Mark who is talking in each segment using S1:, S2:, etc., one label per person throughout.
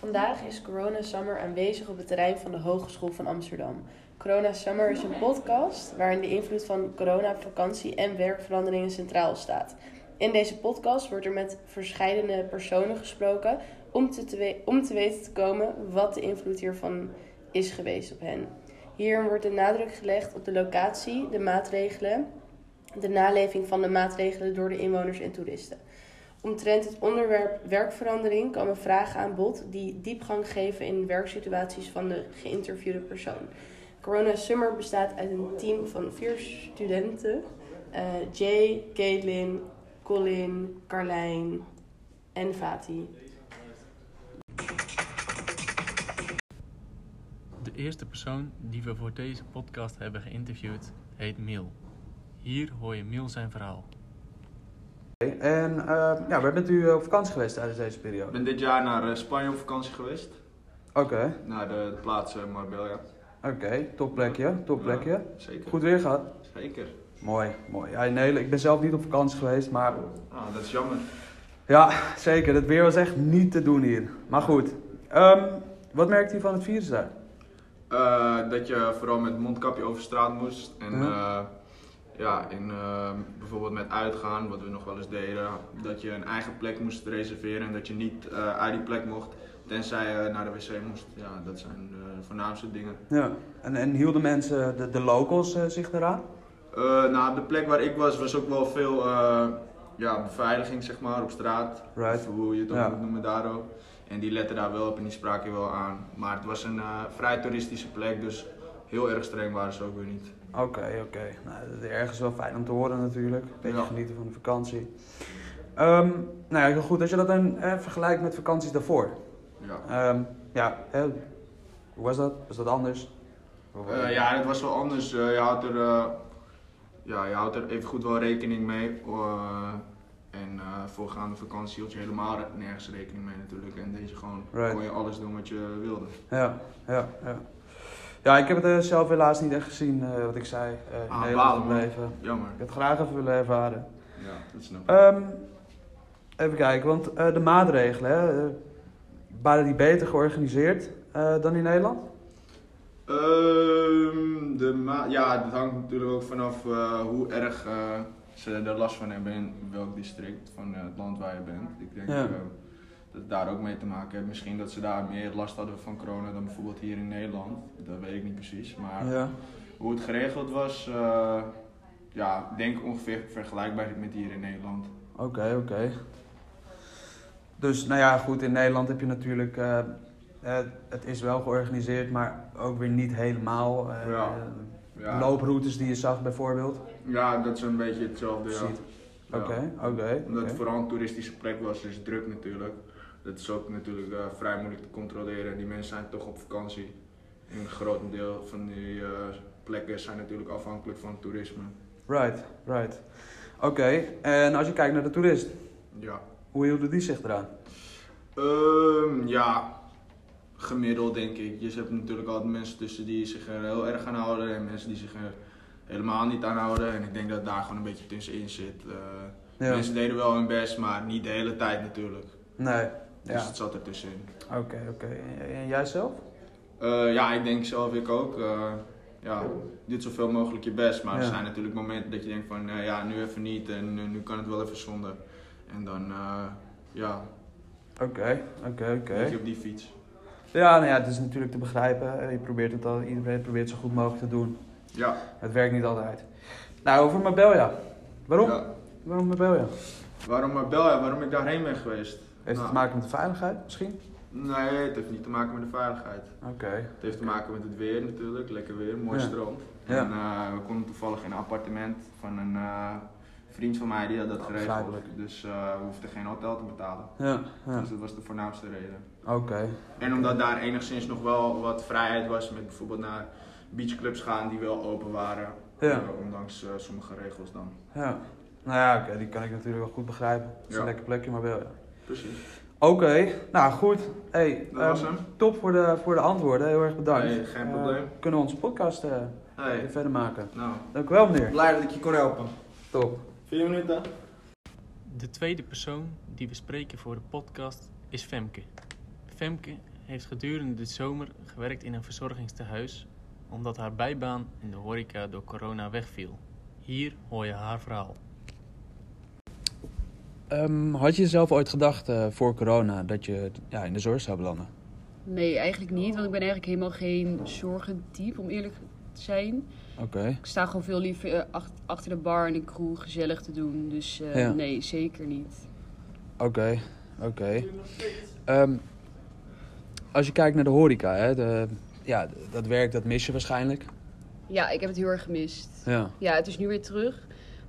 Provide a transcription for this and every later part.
S1: Vandaag is Corona Summer aanwezig op het terrein van de Hogeschool van Amsterdam. Corona Summer is een podcast waarin de invloed van corona op vakantie en werkveranderingen centraal staat. In deze podcast wordt er met verschillende personen gesproken om te, te we- om te weten te komen wat de invloed hiervan is geweest op hen. Hierin wordt de nadruk gelegd op de locatie, de maatregelen, de naleving van de maatregelen door de inwoners en toeristen. Omtrent het onderwerp werkverandering komen vragen aan bod die diepgang geven in werksituaties van de geïnterviewde persoon. Corona Summer bestaat uit een team van vier studenten: eh, Jay, Caitlin, Colin, Carlijn en Fatih.
S2: De eerste persoon die we voor deze podcast hebben geïnterviewd heet Miel. Hier hoor je Miel zijn verhaal.
S3: Oké, En eh, ja, waar bent u eh, op vakantie geweest tijdens deze
S4: Ik
S3: periode?
S4: ben dit jaar naar eh, Spanje op vakantie geweest.
S3: Oké,
S4: Naar de, de plaats eh, Marbella.
S3: oké, topplekje, topplekje.
S4: Zeker.
S3: Goed weer gehad?
S4: Zeker.
S3: Mooi, mooi. Ja, nee, ik ben zelf niet op vakantie geweest, maar
S4: Ah, dat is jammer.
S3: ja, zeker, het weer was echt niet te doen hier. Maar goed, Ehm, wat merkt u van het virus daar?
S4: Eh, dat je vooral met mondkapje over straat moest. En
S3: Ja.
S4: eh, ja, in, eh, bijvoorbeeld met uitgaan, wat we nog wel eens deden. Dat je een eigen plek moest reserveren en dat je niet eh, uit die plek mocht. Tenzij je naar de wc moest. Ja, dat zijn de voornaamste dingen.
S3: Ja. En, en hielden mensen, de, de locals, eh, zich eraan?
S4: Eh, nou, de plek waar ik was, was ook wel veel eh, ja, beveiliging, zeg maar, op straat.
S3: Right.
S4: Of hoe je het ook
S3: Ja.
S4: moet noemen daar ook. En die letten daar wel op en die spraken wel aan. Maar het was een eh, vrij toeristische plek, dus heel erg streng waren ze ook weer niet.
S3: Oké, oké. Nou, dat is ergens wel fijn om te horen natuurlijk. Een beetje
S4: Ja.
S3: genieten van de vakantie. Ehm, nou ja, heel goed. Als je dat dan eh, vergelijkt met vakanties daarvoor,
S4: Ja.
S3: Ehm, ja, hè, hoe was dat? Was dat anders?
S4: Eh, ja, het was wel anders. Eh, je, houdt er, eh, ja, je houdt er even goed wel rekening mee. eh, en eh, voorgaande vakantie hield je helemaal re- nergens rekening mee natuurlijk. En deze gewoon
S3: Right.
S4: kon je alles doen wat je wilde.
S3: Ja, ja, ja. Ja, ik heb het eh, zelf helaas niet echt gezien, eh, wat ik zei. eh in
S4: Ah,
S3: Nederland
S4: balen, man.
S3: gebleven.
S4: Jammer.
S3: Ik had het graag even willen ervaren.
S4: Ja, dat snap ik.
S3: Ehm, even kijken, want eh, de maatregelen, hè, eh, waren die beter georganiseerd eh, dan in Nederland?
S4: Ehm, de ma- ja, dat hangt natuurlijk ook vanaf eh, hoe erg eh, ze er last van hebben in welk district van eh, het land waar je bent. Ik denk
S3: Ja.
S4: eh, dat het daar ook mee te maken heeft. Misschien dat ze daar meer last hadden van corona dan bijvoorbeeld hier in Nederland. Dat weet ik niet precies. Maar
S3: Ja.
S4: hoe het geregeld was, eh, ja, ik denk ongeveer vergelijkbaar met hier in Nederland.
S3: Oké, oké. Dus nou ja, goed, in Nederland heb je natuurlijk. eh, eh, het is wel georganiseerd, maar ook weer niet helemaal. eh,
S4: Ja.
S3: eh,
S4: Ja,
S3: Looproutes die je zag bijvoorbeeld.
S4: ja dat is een beetje hetzelfde. Ja.
S3: Precies.
S4: Ja.
S3: Oké, oké.
S4: Omdat het
S3: oké.
S4: vooral een toeristische plek was, dus druk natuurlijk. Dat is ook natuurlijk eh, vrij moeilijk te controleren. En die mensen zijn toch op vakantie. En een groot deel van die eh, plekken zijn natuurlijk afhankelijk van toerisme.
S3: Right, right. Oké, en als je kijkt naar de toerist,
S4: Ja.
S3: hoe hielden die zich eraan?
S4: Ehm, ja, gemiddeld denk ik. Je hebt natuurlijk altijd mensen tussen die zich er heel erg aan houden en mensen die zich er helemaal niet aan houden. En ik denk dat daar gewoon een beetje tussenin zit. Eh,
S3: Ja.
S4: Mensen deden wel hun best, maar niet de hele tijd natuurlijk.
S3: Nee.
S4: Dus
S3: Ja.
S4: het zat er tussenin.
S3: Oké, oké. En, en jij zelf?
S4: Eh, ja, ik denk zelf ik ook. eh ja, doet zoveel mogelijk je best. Maar
S3: Ja.
S4: er zijn natuurlijk momenten dat je denkt van eh, ja, nu even niet en eh, nu kan het wel even zonder. En dan eh, ja,
S3: Oké, oké, oké.
S4: zit je op die fiets.
S3: Ja, nou ja, het is natuurlijk te begrijpen. Eh, Je probeert het al, iedereen probeert het zo goed mogelijk te doen.
S4: Ja,
S3: Het werkt niet altijd. Nou, over Marbella. Waarom?
S4: ja.
S3: Waarom Marbella?
S4: Waarom Marbella? Waarom ik daarheen ben geweest?
S3: Heeft het
S4: Nou,
S3: te maken met de veiligheid misschien?
S4: Nee, het heeft niet te maken met de veiligheid.
S3: Oké.
S4: Het heeft te maken met het weer natuurlijk. Lekker weer, mooi
S3: Ja.
S4: strand.
S3: Ja.
S4: En eh, we konden toevallig in een appartement van een eh, vriend van mij die had dat
S3: Oh,
S4: geregeld.
S3: begrijpelijk.
S4: Dus eh, we hoefden geen hotel te betalen.
S3: Ja, ja.
S4: Dus dat was de voornaamste reden.
S3: Oké.
S4: En omdat daar enigszins nog wel wat vrijheid was met bijvoorbeeld naar beachclubs gaan die wel open waren.
S3: Ja.
S4: Eh, ondanks eh, sommige regels dan.
S3: Ja. Nou ja, oké, die kan ik natuurlijk wel goed begrijpen. Het is
S4: Ja.
S3: een lekker plekje, Marbella.
S4: Precies.
S3: Oké, nou goed. Hey,
S4: Dat was
S3: ehm,
S4: hem.
S3: top voor de, voor de antwoorden. Heel erg bedankt.
S4: Hey, geen
S3: Eh,
S4: probleem.
S3: kunnen we onze podcast eh,
S4: Hey.
S3: verder maken.
S4: Nou,
S3: Dank u wel, meneer.
S4: blij dat ik je kon helpen.
S3: Top.
S4: Vier minuten.
S2: De tweede persoon die we spreken voor de podcast is Femke. Femke heeft gedurende de zomer gewerkt in een verzorgingstehuis omdat haar bijbaan in de horeca door corona wegviel. Hier hoor je haar verhaal.
S3: Ehm, had je zelf ooit gedacht eh, voor corona dat je ja, in de zorg zou belanden?
S5: Nee, eigenlijk niet, want ik ben eigenlijk helemaal geen zorgentype, om eerlijk te zijn.
S3: Oké.
S5: Ik sta gewoon veel liever eh, ach- achter de bar en de crew gezellig te doen. Dus eh,
S3: Ja.
S5: nee, zeker niet.
S3: Oké, oké. Ehm, als je kijkt naar de horeca, hè, de, ja, d- dat werk dat mis je waarschijnlijk.
S5: Ja, ik heb het heel erg gemist.
S3: Ja.
S5: Ja, het is nu weer terug.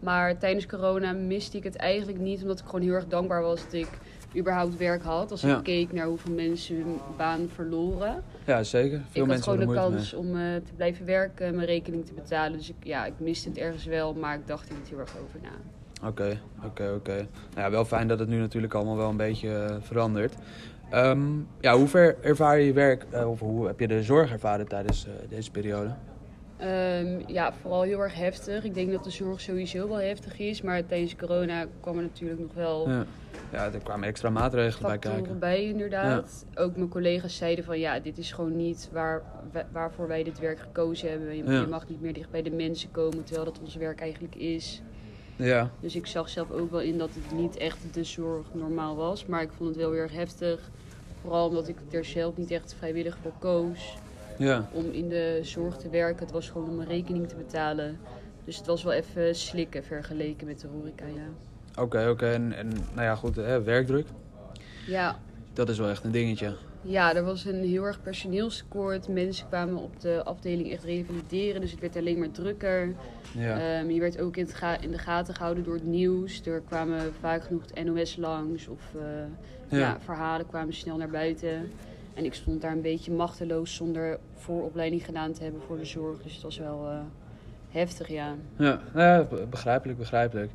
S5: Maar tijdens corona miste ik het eigenlijk niet, omdat ik gewoon heel erg dankbaar was dat ik überhaupt werk had. Als ik
S3: Ja.
S5: keek naar hoeveel mensen hun baan verloren.
S3: ja, zeker. Veel
S5: ik had
S3: mensen
S5: gewoon de
S3: hebben er moeite
S5: kans om eh, te blijven werken, en mijn rekening te betalen. Dus ik, ja, ik miste het ergens wel, maar ik dacht er niet heel erg over na.
S3: mee. Oké, oké, oké. Nou ja, wel fijn dat het nu natuurlijk allemaal wel een beetje eh, verandert. Ehm, ja, hoe ver ervaar je je werk, eh, of hoe heb je de zorg ervaren tijdens eh, deze periode?
S5: Ehm, ja, vooral heel erg heftig. Ik denk dat de zorg sowieso wel heftig is, maar tijdens corona kwam er natuurlijk nog wel
S3: Ja, ja er kwamen extra maatregelen bij
S5: factoren
S3: kijken.
S5: bij, inderdaad. Ook mijn collega's zeiden van ja, dit is gewoon niet waar, wa- waarvoor wij dit werk gekozen hebben. Je,
S3: Ja.
S5: je mag niet meer dicht bij de mensen komen, terwijl dat ons werk eigenlijk is.
S3: Ja,
S5: Dus ik zag zelf ook wel in dat het niet echt de zorg normaal was, maar ik vond het wel heel erg heftig. Vooral omdat ik er zelf niet echt vrijwillig voor koos
S3: ja,
S5: om in de zorg te werken. Het was gewoon om mijn rekening te betalen. Dus het was wel even slikken vergeleken met de horeca, ja.
S3: oké, oké. En, en nou ja, goed, hè, werkdruk,
S5: Ja,
S3: dat is wel echt een dingetje.
S5: ja, er was een heel erg personeelstekort. Mensen kwamen op de afdeling echt revalideren, dus het werd alleen maar drukker.
S3: Ja,
S5: Ehm, je werd ook in, het ga- in de gaten gehouden door het nieuws. Er kwamen vaak genoeg het NOS langs of eh,
S3: Ja.
S5: ja. verhalen kwamen snel naar buiten. En ik stond daar een beetje machteloos zonder vooropleiding gedaan te hebben voor de zorg. Dus het was wel eh, heftig, ja.
S3: ja, ja, Eh, be- begrijpelijk, begrijpelijk.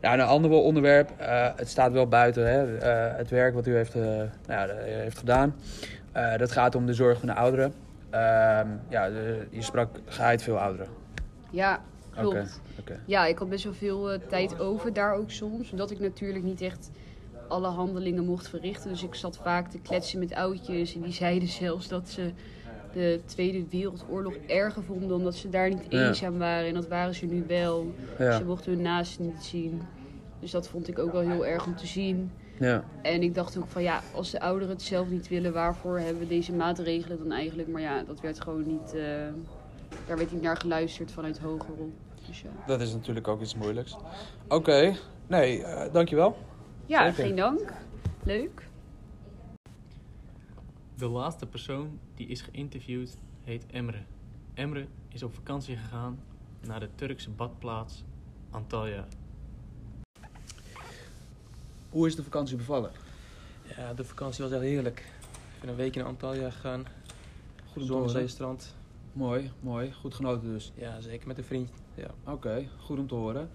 S3: Ja, een ander wel onderwerp, eh, het staat wel buiten, hè, eh, het werk wat u heeft, eh, nou, ja, eh, heeft gedaan. Eh, dat gaat om de zorg van de ouderen. Ehm, ja, de- je sprak geheid veel ouderen.
S5: Ja, klopt.
S3: Oké, oké.
S5: Ja, ik had best wel veel eh, tijd over daar ook soms. Omdat ik natuurlijk niet echt alle handelingen mocht verrichten. Dus ik zat vaak te kletsen met oudjes. En die zeiden zelfs dat ze de Tweede Wereldoorlog erger vonden. Omdat ze daar niet
S3: Ja.
S5: eenzaam waren. En dat waren ze nu wel.
S3: Ja,
S5: Ze mochten hun naasten niet zien. Dus dat vond ik ook wel heel erg om te zien.
S3: ja,
S5: En ik dacht ook van ja, als de ouderen het zelf niet willen, waarvoor hebben we deze maatregelen dan eigenlijk? Maar ja, dat werd gewoon niet. eh, daar werd niet naar geluisterd vanuit hogerop. Dus ja.
S3: dat is natuurlijk ook iets moeilijks. Oké, nee, eh, dankjewel.
S5: Ja,
S3: Zeker.
S5: geen dank. Leuk.
S2: De laatste persoon die is geïnterviewd heet Emre. Emre is op vakantie gegaan naar de Turkse badplaats Antalya.
S3: Hoe is de vakantie bevallen?
S6: Ja, de vakantie was echt heerlijk. Ik ben een week in Antalya gegaan.
S3: Goed om te
S6: Zon, zee,
S3: horen.
S6: strand.
S3: Mooi, mooi. Goed genoten dus.
S6: Ja, zeker met een vriend. Ja.
S3: Oké, goed om te horen.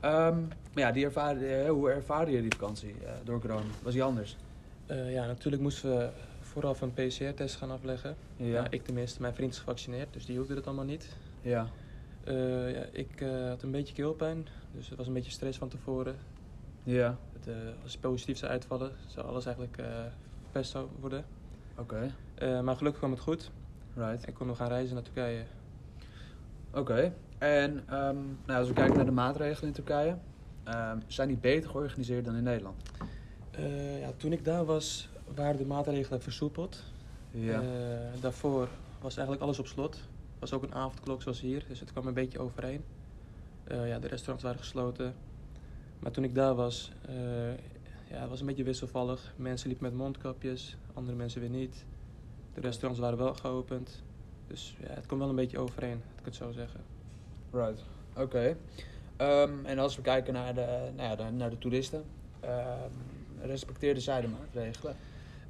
S3: Ehm, maar ja, die ervaar, eh, hoe ervaarde je die vakantie eh, door corona? Was die anders?
S6: Eh, ja, natuurlijk moesten we vooraf een PCR-test gaan afleggen.
S3: Ja,
S6: Ja. ik tenminste, mijn vriend is gevaccineerd, dus die hoefde dat allemaal niet.
S3: ja.
S6: Eh, ja, ik eh, had een beetje keelpijn, dus het was een beetje stress van tevoren.
S3: ja.
S6: Het, eh, als het positief zou uitvallen, zou alles eigenlijk eh verpest zou worden.
S3: oké,
S6: Eh, maar gelukkig kwam het goed
S3: right.
S6: en konden we gaan reizen naar Turkije.
S3: Oké, en ehm, nou, als we kijken naar de maatregelen in Turkije, ehm, zijn die beter georganiseerd dan in Nederland?
S6: Eh, ja, toen ik daar was, waren de maatregelen versoepeld.
S3: Ja,
S6: Eh, daarvoor was eigenlijk alles op slot. Er was ook een avondklok zoals hier, dus het kwam een beetje overeen. Eh, ja, de restaurants waren gesloten. Maar toen ik daar was, eh, ja, het was een beetje wisselvallig. Mensen liepen met mondkapjes, andere mensen weer niet. De restaurants waren wel geopend. Dus ja, het kwam wel een beetje overeen, dat kan ik het zo zeggen.
S3: right. Oké. Ehm, en als we kijken naar de, nou ja, de- naar de toeristen, ehm, respecteerden zij de maatregelen?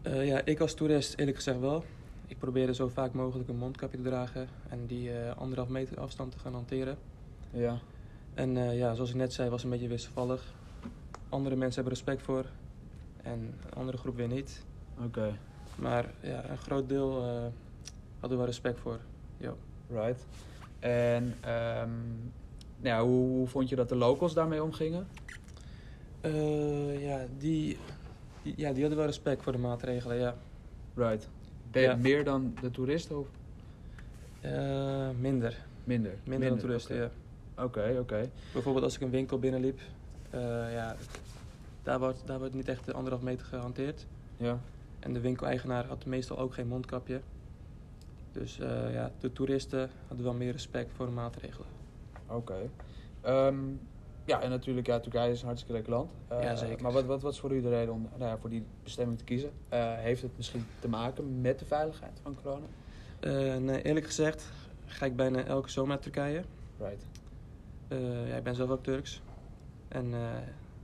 S6: Eh, ja, ik als toerist eerlijk gezegd wel. Ik probeerde zo vaak mogelijk een mondkapje te dragen en die eh, anderhalf meter afstand te gaan hanteren.
S3: Ja,
S6: En eh, ja, zoals ik net zei, was het een beetje wisselvallig. Andere mensen hebben respect voor en een andere groep weer niet.
S3: oké.
S6: Maar ja, een groot deel eh hadden wel respect voor. Jo.
S3: Right. En ehm, nou ja, hoe, hoe vond je dat de locals daarmee omgingen?
S6: Eh, ja, die, die- ja, die hadden wel respect voor de maatregelen, ja.
S3: Right. Ben je
S6: Ja.
S3: meer dan de toeristen of
S6: Eh, minder.
S3: minder?
S6: Minder, dan toeristen,
S3: oké.
S6: ja.
S3: Oké, oké.
S6: Bijvoorbeeld als ik een winkel binnenliep, eh, ja, daar, wordt, daar wordt niet echt de anderhalf meter gehanteerd.
S3: Ja.
S6: En de winkeleigenaar had meestal ook geen mondkapje. Dus eh, ja, de toeristen hadden wel meer respect voor de maatregelen.
S3: Oké. Ehm, ja, en natuurlijk, ja, Turkije is een hartstikke leuk land. Eh,
S6: Ja, zeker.
S3: Maar wat, wat was voor u de reden om nou ja, voor die bestemming te kiezen? Eh, heeft het misschien te maken met de veiligheid van corona?
S6: Eh, nee, eerlijk gezegd ga ik bijna elke zomer naar Turkije.
S3: Right.
S6: Eh, ja, ik ben zelf ook Turks. En eh,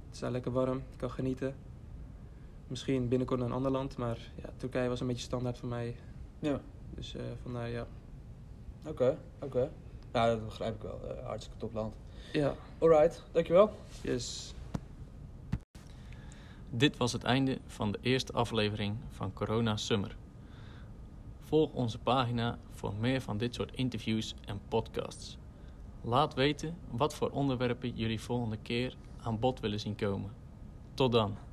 S6: het is daar lekker warm, ik kan genieten. Misschien binnenkort naar een ander land, maar ja, Turkije was een beetje standaard voor mij.
S3: Ja.
S6: Dus eh, vandaar ja.
S3: Oké, oké. Nou, dat begrijp ik wel. Eh, hartstikke top land.
S6: Ja,
S3: Alright, dankjewel.
S6: yes.
S2: Dit was het einde van de eerste aflevering van Corona Summer. Volg onze pagina voor meer van dit soort interviews en podcasts. Laat weten wat voor onderwerpen jullie volgende keer aan bod willen zien komen. Tot dan.